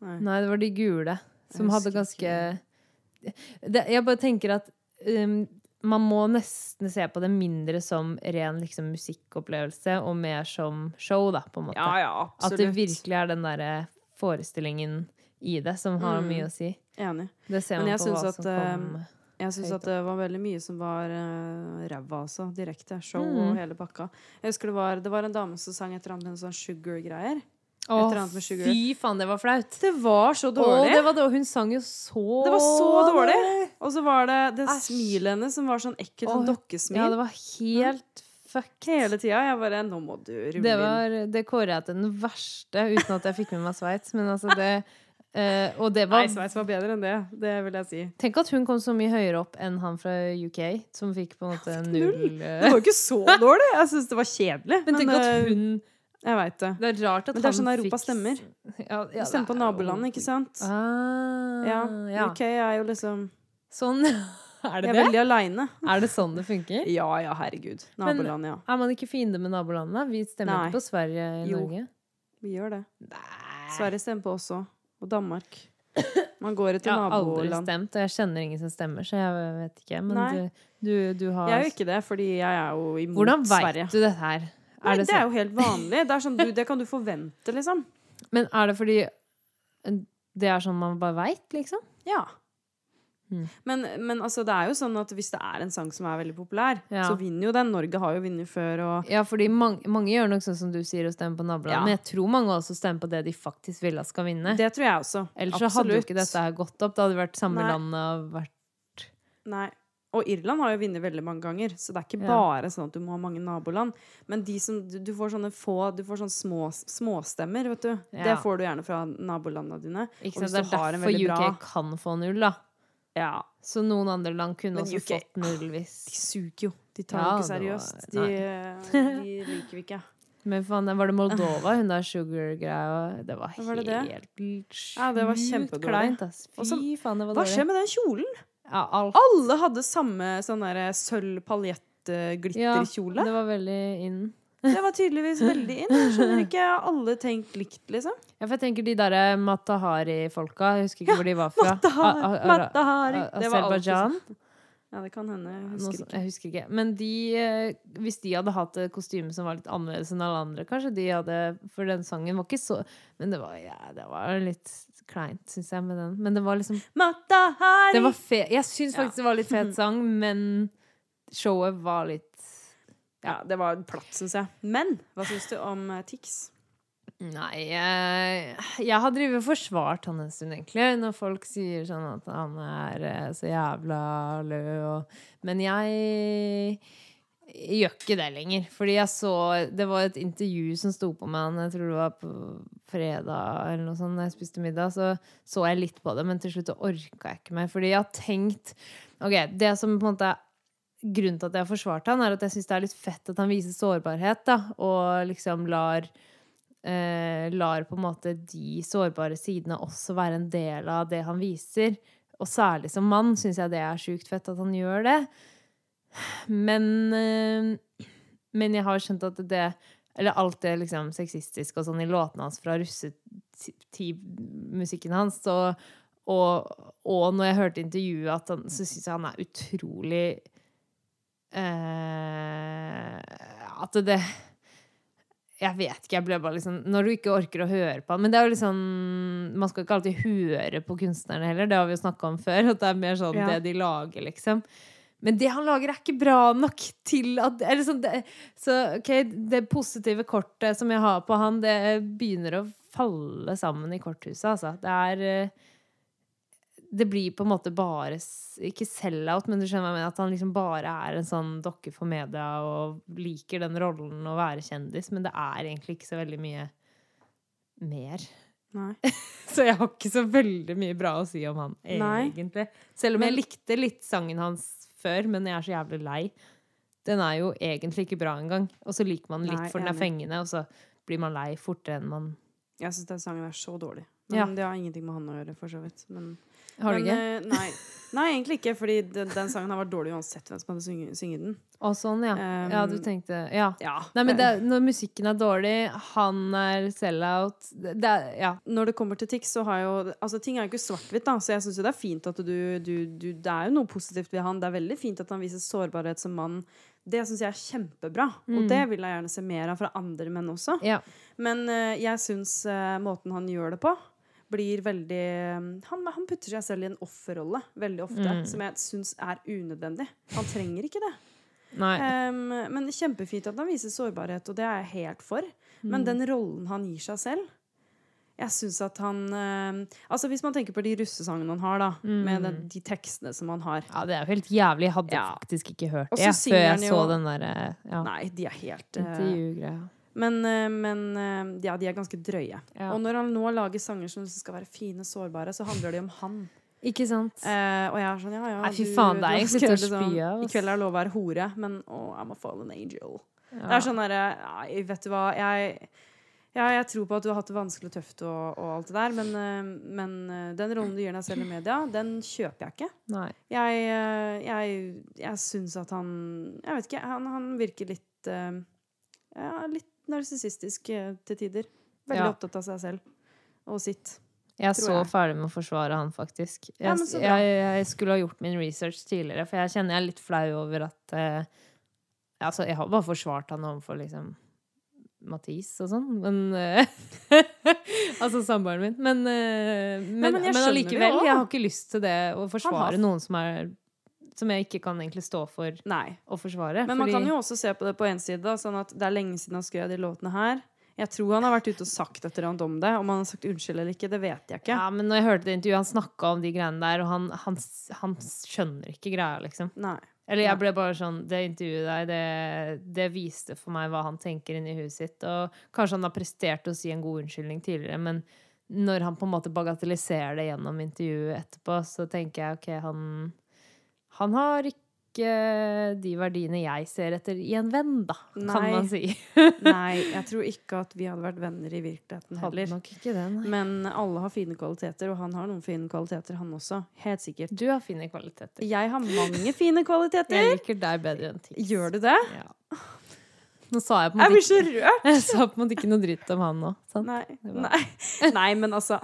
Nei.
Nei, det var de gule som
Jeg
hadde
husker
ganske det, Jeg bare tenker at um, man må nesten se på det mindre som ren liksom, musikkopplevelse og mer som show, da, på en måte.
Ja, ja,
At
absolutt.
det virkelig er den derre forestillingen i det som har
Mm.
mye å si.
Enig.
Det ser
Men
man
jeg
på
syns
hva
at, eh,
som kom.
Jeg syns
Høyt
at det var veldig mye som var uh, ræva, altså. Direkte. Show
Mm.
og hele pakka. Jeg husker det var, det var en dame som sang et eller annet med en sånn sugar-greier. eller annet med Sugar.
fy faen, det var flaut.
Det var så
Å,
dårlig.
det var, da- hun sang jo så
Det var så dårlig. Og så var det det
Æsj.
smilet hennes som var sånn ekkelt, sånn
Åh,
dokkesmil.
Ja, det var helt fucked.
Hele tida. Jeg bare Nå må du rulle
Det, var, det kåret jeg til den verste, uten at jeg fikk med meg Sveits. Men altså, det eh, Og det
inn.
var
Nei, Sveits var bedre enn det. Det vil jeg
<laughs>
si.
Tenk at hun kom så mye høyere opp enn han fra UK, som fikk på en måte null
Det
eh. <laughs>
var jo ikke så dårlig. Jeg syns det var kjedelig.
Men tenk at
eh,
hun
Jeg veit det.
Det er rart
Men
at
det er
han
sånn Europa
fikk-
stemmer.
Ja, ja,
Vi
det
stemmer på
er jo-
nabolandet, ikke sant?
Ah,
Ja.
ja.
UK er jo liksom <laughs>
Sånn Er
Jeg
det
er
det?
veldig aleine.
Er det sånn det funker?
Ja ja, herregud.
Men-
Nabolandet, ja.
Er man ikke fiende med nabolandene? Vi stemmer
Nei.
ikke på Sverige i
Jo.
Norge.
Vi gjør det.
Nei.
Sverige stemmer på også. Og Danmark. Man går etter
Jeg har aldri
naboland.
stemt, og jeg kjenner ingen som stemmer, så jeg vet ikke. Men
Nei.
du, du, du har
Jeg er jo ikke det, fordi jeg er jo imot
Hvordan veit
Sverige.
du dette her?
Nei,
Er det
det, er jo helt vanlig. Det, er sånn, du, det kan du forvente, liksom.
sånn- Men er det fordi det er sånn man bare veit, liksom?
Ja.
Mm.
Men, men altså, det er jo sånn at hvis det er en sang som er veldig populær,
Ja.
så vinner jo den. Norge har jo vunnet før, og
Ja, fordi mange, mange gjør nok sånn som du sier, og stemmer på nabolandet.
Ja.
Men jeg tror mange også stemmer på det de faktisk ville skal vinne.
det tror jeg også.
Ellers så hadde jo ikke dette her gått opp. Det hadde vært samme
Nei.
landet og vært
Nei. Og Irland har jo vunnet veldig mange ganger, så det er ikke
Ja.
bare sånn at du må ha mange naboland. Men de som, du, du får sånne få Du får sånne små, småstemmer, vet du. Det
Ja.
får du gjerne fra nabolandene dine.
ikke
Og
sant?
hvis
Det
du har
er
en
derfor
veldig
UK
bra-
kan få null, da.
Ja.
Så noen andre land kunne
Men
også
UK
fått null hvis
De suger jo. De tar
Ja,
jo ikke
det var-
seriøst. De, eh, de liker vi ikke.
<laughs> Men faen, var det Moldova, hun der sugar-greia? Det var helt
Var det det?
sjukt
Ja, det var kjempedårlig.
kleint, ass. Fy
Og så-
faen, det var
Hva
dårlig.
skjer med den kjolen?
Ja, alt.
Alle hadde samme sånn derre sølv paljettglitterkjole.
det var veldig inn.
<laughs> Det var tydeligvis veldig inn. Jeg skjønner ikke. Har alle tenkt likt, liksom?
Ja, for jeg tenker de derre Matahari-folka, jeg husker ikke hvor de var fra.
Matahari!
<laughs> A- a- a-
Matahari.
a-
Det var alltid sånn.
Aserbajdsjan?
Ja, det kan hende. Jeg
Noe
husker
sånt.
ikke.
Jeg husker ikke. Men de, eh, hvis de hadde hatt et kostyme som var litt annerledes enn alle andre, kanskje de hadde For den sangen var ikke så Men det var, ja, det var litt kleint, syns jeg, med den. Men det var liksom
Matahari!
Det var fe jeg syns
Ja.
faktisk det var litt
<laughs>
fet sang, men showet var litt
Ja, det var platt, syns jeg. Men hva syns du om eh, Tix?
Nei, jeg, jeg har drevet og forsvart han en stund, egentlig, når folk sier sånn at han er eh, så jævla lø og Men jeg gjør ikke det lenger. Fordi jeg så Det var et intervju som sto på med han, jeg tror det var på fredag eller noe sånt, da jeg spiste middag, så så jeg litt på det, men til slutt så orka jeg ikke mer. Fordi jeg har tenkt Ok, det som på en måte er grunnen til at jeg har forsvart han, er at jeg syns det er litt fett at han viser sårbarhet, da, og liksom lar eh, Lar på en måte de sårbare sidene også være en del av det han viser. Og særlig som mann syns jeg det er sjukt fett at han gjør det. Men eh, Men jeg har skjønt at det Eller alt det liksom sexistiske og sånn i låtene hans fra russetid-musikken hans, så og, og når jeg hørte intervjuet, at han, så syns jeg han er utrolig eh, At det Jeg vet ikke, jeg ble bare liksom Når du ikke orker å høre på han Men det er jo liksom Man skal ikke alltid høre på kunstnerne heller, det har vi jo snakka om før. At det er mer sånn
Ja.
det de lager, liksom. Men det han lager, er ikke bra nok til at eller sånn, det, Så OK, det positive kortet som jeg har på han, det begynner å falle sammen i korthuset, altså. Det er eh, det blir på en måte bare s- Ikke sell-out, men du skjønner hva jeg mener. At han liksom bare er en sånn dokke for media og liker den rollen å være kjendis, men det er egentlig ikke så veldig mye mer. <laughs>
Nei.
Så jeg har ikke så veldig mye bra å si om han,
Nei.
egentlig. Selv om jeg
Men-
likte litt sangen hans før, men jeg er så jævlig lei. Den er jo egentlig ikke bra engang. Og så liker man den litt
Nei,
for den er
enig.
fengende, og så blir man lei fortere enn man
Jeg syns den sangen er så dårlig. Men
Ja.
det har ingenting med han å gjøre, for så vidt. Men,
Har du
men,
ikke?
eh, Nei. nei, egentlig ikke, fordi den, den sangen har vært dårlig uansett hvem som hadde synge- synget den.
Å, sånn, ja. ja, du
Um,
tenkte Ja.
Ja.
Nei, men det, er- når musikken er dårlig, han er sell-out det, det er, Ja.
Når det kommer til TIX, så har jo Altså, ting er jo ikke svart-hvitt, da, så jeg syns jo det er fint at du, du, du Det er jo noe positivt ved han. Det er veldig fint at han viser sårbarhet som mann. Det syns jeg er kjempebra, og det vil jeg gjerne se mer av fra andre menn også.
Mm. ja.
Men eh, jeg syns eh, måten han gjør det på, blir veldig eh, han, han putter seg selv i en offerrolle veldig ofte,
Mm.
som jeg syns er unødvendig. Han trenger ikke det.
Nei.
Em,
Mm.
men kjempefint at han viser sårbarhet, og det er jeg helt for. Men den rollen han gir seg selv, Jeg syns at han eh, Altså Hvis man tenker på de russesangene han har, da, med den, de tekstene som han har
Mm. Ja, det er jo helt jævlig. Jeg hadde
Ja.
faktisk ikke hørt
Og
det
så
jeg,
synger
før jeg
han
så
jo-
den der eh, ja,
Nei, de er helt eh,
intervjugreia.
Men, eh, men eh, ja, de er ganske drøye.
Ja.
Og når han nå lager sanger som skal være fine, sårbare, så handler de om han.
Ikke sant?
Eh, og jeg er sånn, ja, ja
Nei, fy faen, det er
har
egentlig til å
skrevet
spy
sånn,
av,
I
ass.
kveld er det lov å være hore, men oh, I'm a fallen angel. Det
Ja.
er sånn derre Nei, vet du hva, jeg ja, jeg tror på at du har hatt det vanskelig og tøft og, og alt det der, men, eh, men eh, den rollen du gir deg selv i media, den kjøper jeg ikke.
Nei.
Jeg, eh, jeg, jeg syns at han Jeg vet ikke, han, han virker litt eh, ja, Litt narsissistisk eh, til tider. Veldig
Ja.
opptatt av seg selv og sitt. Tror
Jeg så
jeg.
ferdig med å forsvare han, faktisk. Jeg,
Ja, men så bra.
jeg, jeg skulle ha gjort min research tidligere, for jeg kjenner jeg er litt flau over at eh, Altså, jeg har bare forsvart han overfor liksom Mathis og sånn, men eh, <laughs> Altså samboeren min. Men, eh,
Ja,
men,
men jeg
men
skjønner det
allikevel,
også.
jeg har ikke lyst til det å forsvare
har-
noen som er Som jeg ikke kan egentlig stå for
Nei.
å forsvare.
Men man
fordi-
kan jo også se på det på én side, da, sånn at det er lenge siden han skrev de låtene her. Jeg tror han har vært ute og sagt et eller annet om det. Om han har sagt unnskyld eller ikke, det vet jeg ikke.
Ja, men når jeg hørte det intervjuet, han snakka om de greiene der, og han, han, han skjønner ikke greia, liksom.
Nei.
Eller
Ja.
jeg ble bare sånn Det intervjuet der, det, det viste for meg hva han tenker inni huet sitt. Og kanskje han har prestert å si en god unnskyldning tidligere, men når han på en måte bagatelliserer det gjennom intervjuet etterpå, så tenker jeg OK, han, han har ikke de verdiene jeg ser etter i en venn, da, kan
Nei.
man si.
Nei, jeg tror ikke at vi hadde vært venner i virkeligheten
<laughs> Hadde
heller.
nok ikke det, nei.
Men alle har fine kvaliteter, og han har noen fine kvaliteter, han også. Helt sikkert.
Du har fine kvaliteter.
Jeg har mange fine
Jeg
kvaliteter!
liker deg bedre enn Tix.
Gjør du det?
Ja. Nå sa jeg på en
Jeg
måte
blir
ikke,
så rørt!
<laughs> jeg sa på en måte ikke noe dritt om han nå. Sant?
Nei,
var-
nei. nei, men altså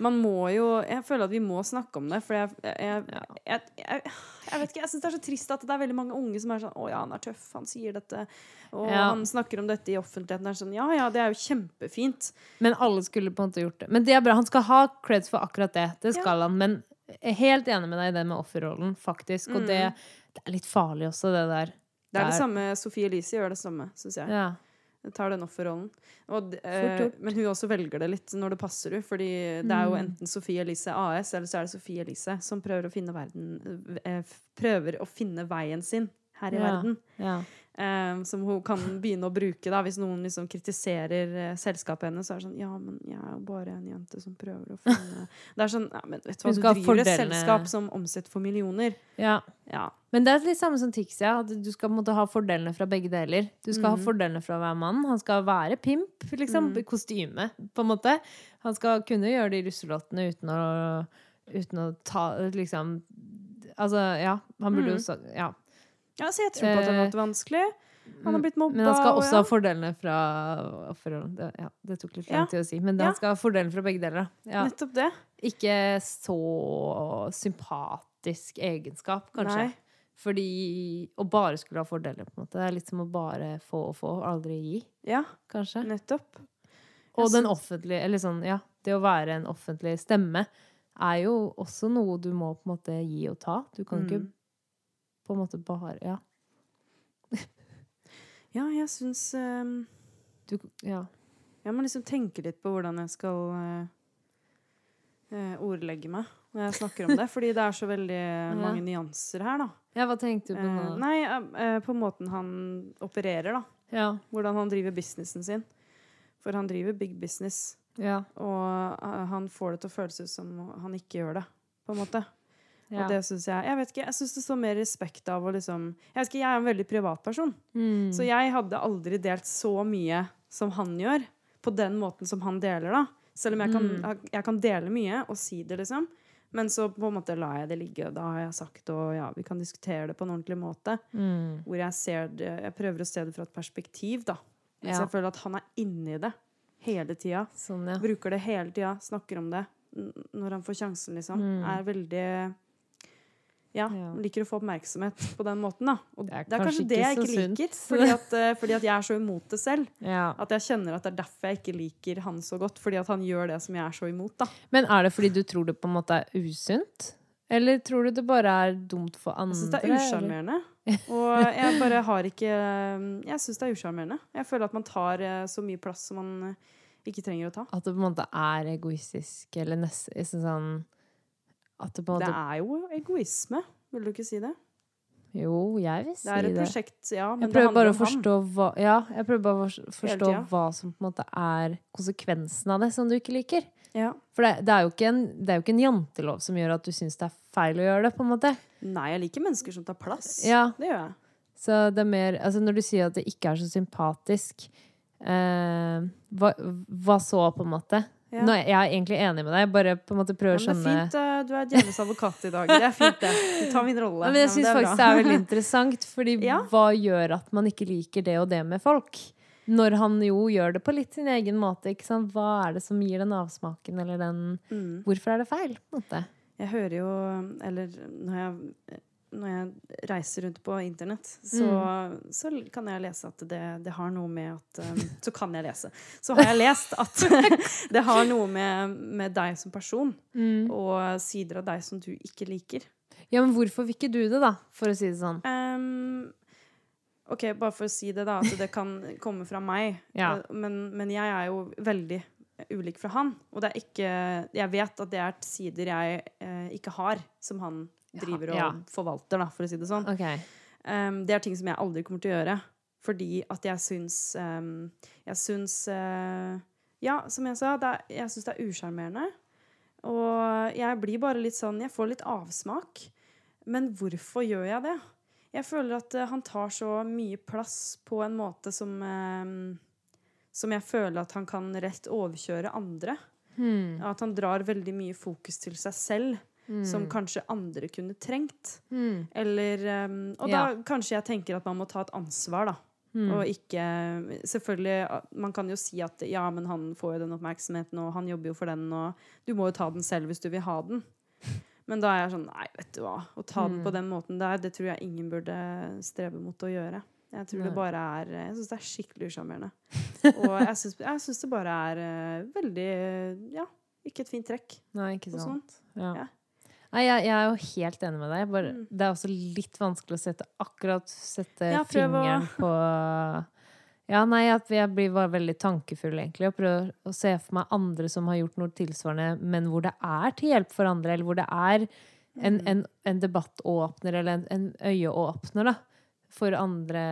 Man må jo Jeg føler at vi må snakke om det, for jeg Jeg,
Ja.
jeg, jeg, jeg vet ikke, jeg syns det er så trist at det er veldig mange unge som er sånn 'Å ja, han er tøff, han sier dette', og
Ja.
han snakker om dette i offentligheten. Det er sånn, ja ja, det er jo kjempefint.
Men alle skulle på en måte gjort det. Men det er bra. Han skal ha creds for akkurat det. Det skal han. Men jeg er helt enig med deg i det med offerrollen, faktisk. Og det, det er litt farlig også, det der.
Det er det
Der.
samme Sophie Elise gjør det samme, syns jeg.
Ja.
Jeg tar den offerrollen. Og, d-
Fort
eh,
gjort. Mm.
men hun også velger det litt når det passer henne. Fordi det er jo enten Sophie Elise AS, eller så er det Sophie Elise som prøver å finne, verden, eh, f- prøver å finne veien sin her i
Ja.
verden.
ja.
Eh, som hun kan begynne å bruke da, hvis noen liksom kritiserer eh, selskapet hennes. Så er det sånn Ja, men jeg er jo bare en jente som prøver å finne <laughs> Det er sånn ja, men vet du hva,
Hun
Du
skal ha
driver et
fordelene.
selskap som omsetter for millioner.
ja.
Ja.
Men det er litt samme som Tix, ja. At du skal på en måte ha fordelene fra begge deler. Du skal ha fordelene fra å være mann. Han skal være pimp, liksom. i Kostyme, på en måte. Han skal kunne gjøre de russelåtene uten å, uten å ta liksom Altså, ja. Han burde jo sagt Ja.
ja, så jeg tror på at det har
Eh, mm,
vært vanskelig. Han har blitt mobba.
Men han skal
og
også
ja.
ha fordelene fra offerrollen. Det, ja, det tok litt lang
Ja.
tid å si, men
Ja.
han skal ha fordelen fra begge deler. da. Ja.
Nettopp det.
Ikke så sympatisk egenskap, kanskje.
Nei.
Fordi å bare skulle ha fordeler, på en måte. Det er litt som å bare få og få, og aldri gi,
Ja,
kanskje.
nettopp.
Og den offentlige, eller sånn, ja, det å være en offentlig stemme er jo også noe du må på en måte gi og ta. Du kan ikke
Mm.
på en måte bare Ja.
Ja, jeg syns ehm,
Du, ja.
Jeg må liksom tenke litt på hvordan jeg skal eh, eh, ordlegge meg når jeg snakker om det. Fordi det er så veldig eh,
<laughs>
mange nyanser her, da.
ja, hva tenkte du på
Eh,
nå?
nei, eh, eh, på måten han opererer, da.
Ja.
Hvordan han driver businessen sin. For han driver big business.
Ja.
Og eh, han får det til å føles ut som han ikke gjør det, på en måte.
ja.
Og det syns jeg Jeg vet ikke, jeg syns det står mer respekt av å liksom Jeg vet ikke, jeg er en veldig privat person.
Mm.
Så jeg hadde aldri delt så mye som han gjør, på den måten som han deler, da. Selv om jeg
Mm.
kan, jeg kan dele mye og si det, liksom. Men så på en måte lar jeg det ligge, og da har jeg sagt og ja, vi kan diskutere det på en ordentlig måte.
Mm.
Hvor jeg ser det Jeg prøver å se det fra et perspektiv, da. Mens
Ja.
jeg føler at han er inni det hele tida.
Sånn, ja.
Bruker det hele tida, snakker om det n- når han får sjansen, liksom. Er veldig ja,
Mm. Ja.
liker å få oppmerksomhet på den måten, da. Og det er, kanskje,
kanskje
det jeg ikke
ikke så
liker.
sunt.
Fordi at, eh, fordi at jeg er så imot det selv.
Ja.
At jeg kjenner at det er derfor jeg ikke liker han så godt. Fordi at han gjør det som jeg er så imot, da.
Men er det fordi du tror det på en måte er usunt? Eller tror du det bare er dumt for andre?
Jeg syns det er
eller?
usjarmerende. Og jeg mm, bare har ikke Jeg syns det er usjarmerende. Jeg føler at man tar eh, så mye plass som man eh, ikke trenger å ta.
At det på en måte er egoistisk, eller nesten sånn At det på en
Det
måte
er jo egoisme, vil du ikke si det?
Jo, jeg vil si
Det er
det.
et prosjekt, ja, men
Jeg
det
prøver
handler
bare å
om ham.
forstå hva, ja, jeg prøver bare å fors- forstå
tida.
hva som på en måte er konsekvensen av det, som du ikke liker.
Ja.
For det, det, er jo ikke en, det er jo ikke en jantelov som gjør at du syns det er feil å gjøre det. på en måte.
Nei, jeg liker mennesker som tar plass.
Ja.
Det gjør jeg.
Så det er mer, altså Når du sier at det ikke er så sympatisk, eh, hva, hva så, på en måte?
Ja.
Nå, er jeg er egentlig enig med deg, bare på en måte prøver å
Ja, men det er
skjønne
fint. eh, Du er djevelens advokat i dag. Det er fint, det. Du tar min rolle.
Ja, men jeg
Ja,
syns
det er
faktisk det
bra.
er veldig interessant, fordi
<laughs> Ja.
hva gjør at man ikke liker det og det med folk? Når han jo gjør det på litt sin egen måte, ikke sant? hva er det som gir den avsmaken, eller den
<laughs> Mm.
Hvorfor er det feil? på en måte?
Jeg hører jo Eller når jeg, når jeg reiser rundt på internett, så,
Mm.
så kan jeg lese at det, det har noe med at um, Så kan jeg lese. Så har jeg lest at <laughs> det har noe med, med deg som person
Mm.
og sider av deg som du ikke liker.
Ja, men hvorfor vil ikke du det, da, for å si det sånn?
Ehm, OK, bare for å si det, da, at det kan komme fra meg.
Ja.
Eh, Men, men jeg er jo veldig eh, ulik fra han. Og det er ikke Jeg vet at det er sider jeg eh, ikke har, som han driver og
Ja.
forvalter, da, for å si det sånn.
Ok.
Ehm, det er ting som jeg aldri kommer til å gjøre. Fordi at jeg syns ehm, Jeg syns eh, Ja, som jeg sa, det er, jeg syns det er usjarmerende. Og jeg blir bare litt sånn Jeg får litt avsmak. Men hvorfor gjør jeg det? Jeg føler at eh, han tar så mye plass på en måte som ehm, Som jeg føler at han kan rett overkjøre andre.
Hmm.
At han drar veldig mye fokus til seg selv,
Hmm.
som kanskje andre kunne trengt.
Hmm.
Eller ehm, Og da
Ja.
kanskje jeg tenker at man må ta et ansvar, da.
Hmm.
Og ikke Selvfølgelig, ah, man kan jo si at ja, men han får jo den oppmerksomheten, og han jobber jo for den, og du må jo ta den selv hvis du vil ha den. Men da er jeg sånn Nei, vet du hva. Å ta den
Mm.
på den måten der, det tror jeg ingen burde strebe mot å gjøre. Jeg tror det bare er Jeg syns det er skikkelig usjarmerende.
<laughs>
Og jeg syns, jeg syns det bare er eh, veldig Ja, ikke et fint trekk.
Nei, ikke sånn.
Og sånn.
sant.
sånt.
Ja.
Ja. Mm.
Nei, jeg, jeg er jo helt enig med deg. Bare, Det er også litt vanskelig å sette akkurat sette
Ja, prøv å-
fingeren på Ja, nei, at jeg blir bare veldig tankefull, egentlig, og prøver å se for meg andre som har gjort noe tilsvarende, men hvor det er til hjelp for andre, eller hvor det er en,
Mm.
en, en debattåpner eller en, en øyeåpner, da, for andre,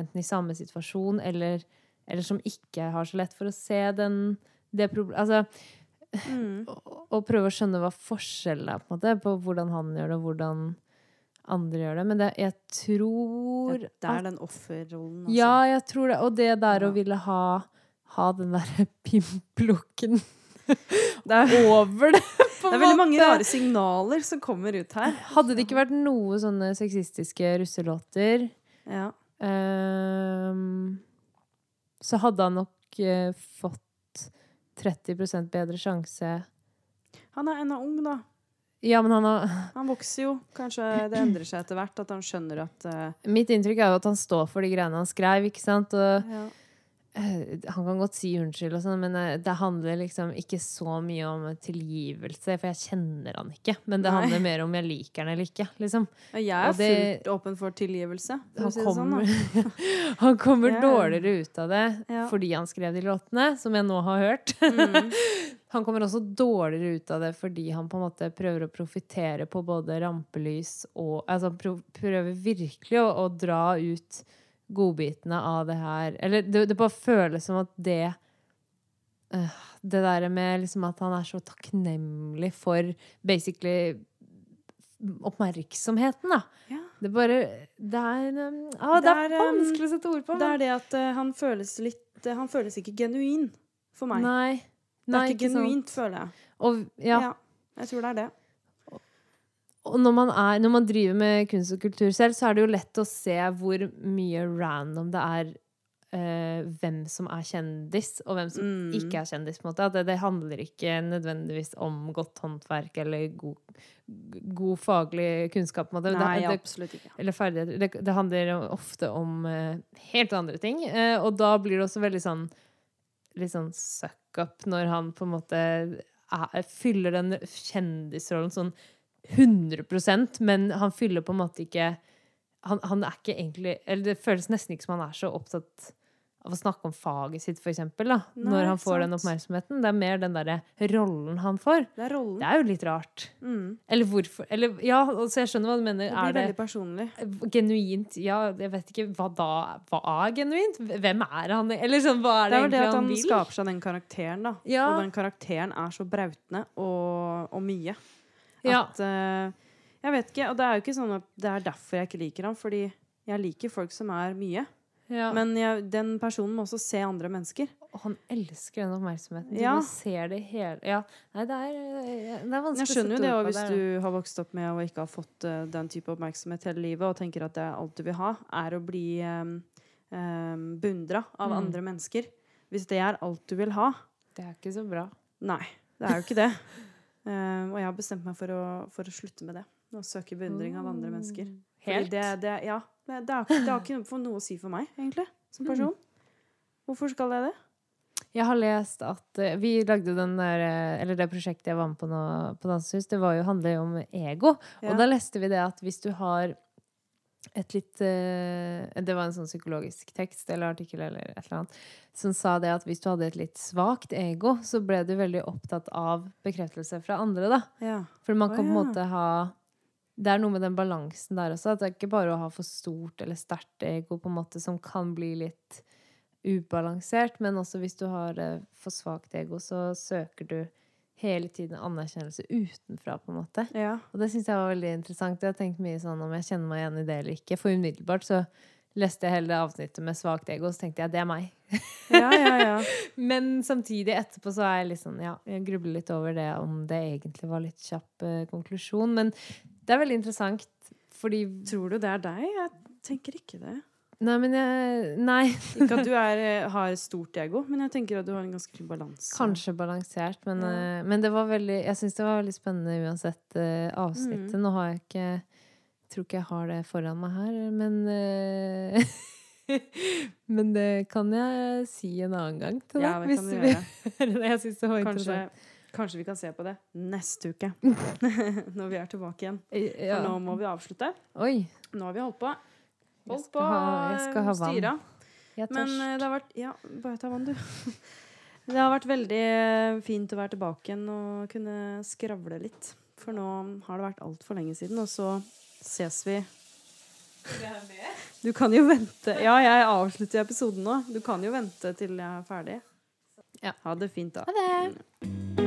enten i samme situasjon eller, eller som ikke har så lett for å se den, det problemet Altså,
Mm.
og- og prøve å skjønne hva forskjellen er på, en måte, på hvordan han gjør det, og hvordan andre gjør det. Men det, jeg tror
Det er
at
den offerrollen, altså.
Ja, jeg tror det. Og det der
Ja.
å ville ha, ha den derre <laughs> pimplukken
Det er
over det, <laughs> på
Det
en
er veldig mange
måte.
rare signaler som kommer ut her.
Hadde det ikke vært noe sånne sexistiske russelåter,
Ja.
ehm, så hadde han nok eh, fått 30 bedre sjanse.
Han er ennå ung, da.
Ja, men han har
Han vokser jo. Kanskje det endrer seg etter hvert, at han skjønner at eh,
Mitt inntrykk er jo at han står for de greiene han skrev, ikke sant? Og
ja.
eh, han kan godt si unnskyld og sånn, men eh, det handler liksom ikke så mye om tilgivelse, for jeg kjenner han ikke. Men det
Nei.
handler mer om jeg liker han eller ikke, liksom.
Ja, Jeg
Og
er
det-
fullt åpen for tilgivelse, for å
Han
si det sånn.
kommer,
Da.
<laughs> han kommer
Ja.
dårligere ut av det
Ja. Mm.
fordi han skrev de låtene, som jeg nå har hørt. <laughs> Han kommer også dårligere ut av det fordi han på en måte prøver å profittere på både rampelys og Altså han pro- prøver virkelig å, å dra ut godbitene av det her. Eller det, det bare føles som at det øh, Det der med liksom at han er så takknemlig for basically oppmerksomheten, da.
Ja.
Det bare Det er, um, ah, det er
Det er, um,
vanskelig å sette ord på.
Det
men-
er det at eh, han føles litt eh, Han føles ikke genuin for meg.
Nei.
det
Nei,
er ikke
sant.
genuint, føler jeg.
Og, ja,
Ja. Jeg tror det er det.
Og når man, er, når man driver med kunst og kultur selv, så er det jo lett å se hvor mye random det er eh, hvem som er kjendis, og hvem som
Mm.
ikke er kjendis. på en måte. At det, det handler ikke nødvendigvis om godt håndverk eller god, god faglig kunnskap. på en måte. Det-
Nei,
det,
absolutt ikke.
eller ferdigheter. Det, det handler jo ofte om eh, helt andre ting. eh, og da blir det også veldig sånn litt sånn suck up når han på en måte er, fyller den kjendisrollen sånn 100 men han fyller på en måte ikke han, han er ikke egentlig Eller det føles nesten ikke som han er så opptatt av å snakke om faget sitt, for eksempel, da,
Nei,
når han
ikke
får den
sant.
oppmerksomheten. Det er mer den derre rollen han får.
Det er rollen.
Det er jo litt rart.
Mm.
Eller hvorfor Eller ja, altså jeg skjønner hva du mener.
Det blir
Er det
veldig personlig.
genuint Ja, jeg vet ikke hva da Hva er genuint? Hvem er han? Eller sånn, hva er
Det er
det,
vel det
egentlig
at
han
han
vil?
skaper seg den karakteren, da.
Ja.
Og den karakteren er så brautende og, og mye.
Ja.
At eh, Jeg vet ikke. Og det er jo ikke sånn at det er derfor jeg ikke liker ham. Fordi jeg liker folk som er mye.
ja.
Men jeg, den personen må også se andre mennesker.
Og han elsker den oppmerksomheten. Du
Ja.
bare ser det hele Ja. Nei, det er, eh, det er vanskelig
Jeg skjønner jo det,
ord
og
på
hvis du har vokst opp med og ikke har fått eh, den type oppmerksomhet hele livet, og tenker at det er alt du vil ha, er å bli um, beundra av
Mm.
andre mennesker. Hvis det er alt du vil ha,
Det er ikke så bra.
Nei, det er jo
<laughs>
ikke det. Eh, og jeg har bestemt meg for å, for å slutte med det. Å søke beundring av
Mm.
andre mennesker. Fordi
Helt.
Det, det, ja, det, det, har, ikke- det har ikke noe- for noe å si for meg, egentlig, som person. Hvorfor skal jeg det?
Jeg har lest at eh, vi lagde den der eh, Eller det prosjektet jeg var med på nå på Dansehus, det var jo, handler jo om ego.
Ja.
Og da leste vi det at hvis du har et litt eh, Det var en sånn psykologisk tekst eller artikkel eller et eller annet som sa det at hvis du hadde et litt svakt ego, så ble du veldig opptatt av bekreftelse fra andre, da.
Ja.
For man
Å,
kan på en
ja.
måte ha Det er noe med den balansen der også. At det er ikke bare å ha for stort eller sterkt ego på en måte som kan bli litt ubalansert. Men også hvis du har eh, for svakt ego, så søker du hele tiden anerkjennelse utenfra, på en måte.
ja.
Og det syns jeg var veldig interessant. Jeg har tenkt mye sånn om jeg kjenner meg igjen i det eller ikke. For umiddelbart så leste jeg hele det avsnittet med svakt ego, så tenkte jeg det er meg.
Ja, ja, ja.
Men samtidig etterpå så er jeg litt sånn, ja, jeg grubler litt over det, om det egentlig var litt kjapp eh, konklusjon. Men det er veldig interessant, fordi
<laughs> Tror du det er deg? Jeg tenker ikke det.
Nei, men jeg
<laughs>
Nei,
Ikke at du er, eh, har stort ego, men jeg tenker at du har en ganske fin balanse.
kanskje balansert, men,
Ja.
eh, men det var veldig Jeg syns det var veldig spennende uansett eh, avsnittet.
Mm.
Nå har jeg ikke Tror ikke jeg har det foran meg her, men eh, <laughs> Men det kan jeg si en annen gang til deg.
Ja, det
hvis
kan
du
du
vil
gjøre.
høre det. Jeg syns det var
<laughs> Kanskje,
interessant.
kanskje vi kan se på det neste <laughs> uke. Når vi er tilbake igjen. For
Ja.
nå må vi avslutte.
Oi.
Nå har vi holdt på.
Jeg
Holdt
skal
på
ha- jeg skal ha
eh,
vann.
styra.
Jeg er
Men
tørst.
eh, det har vært Ja, bare ta vann, du. <laughs> Det har vært veldig eh, fint å være tilbake igjen og kunne skravle litt. For nå har det vært altfor lenge siden, og så ses vi Du kan jo vente. Ja, jeg avslutter episoden nå. Du kan jo vente til jeg er ferdig.
Ja.
Ha det fint, da.
Ha det!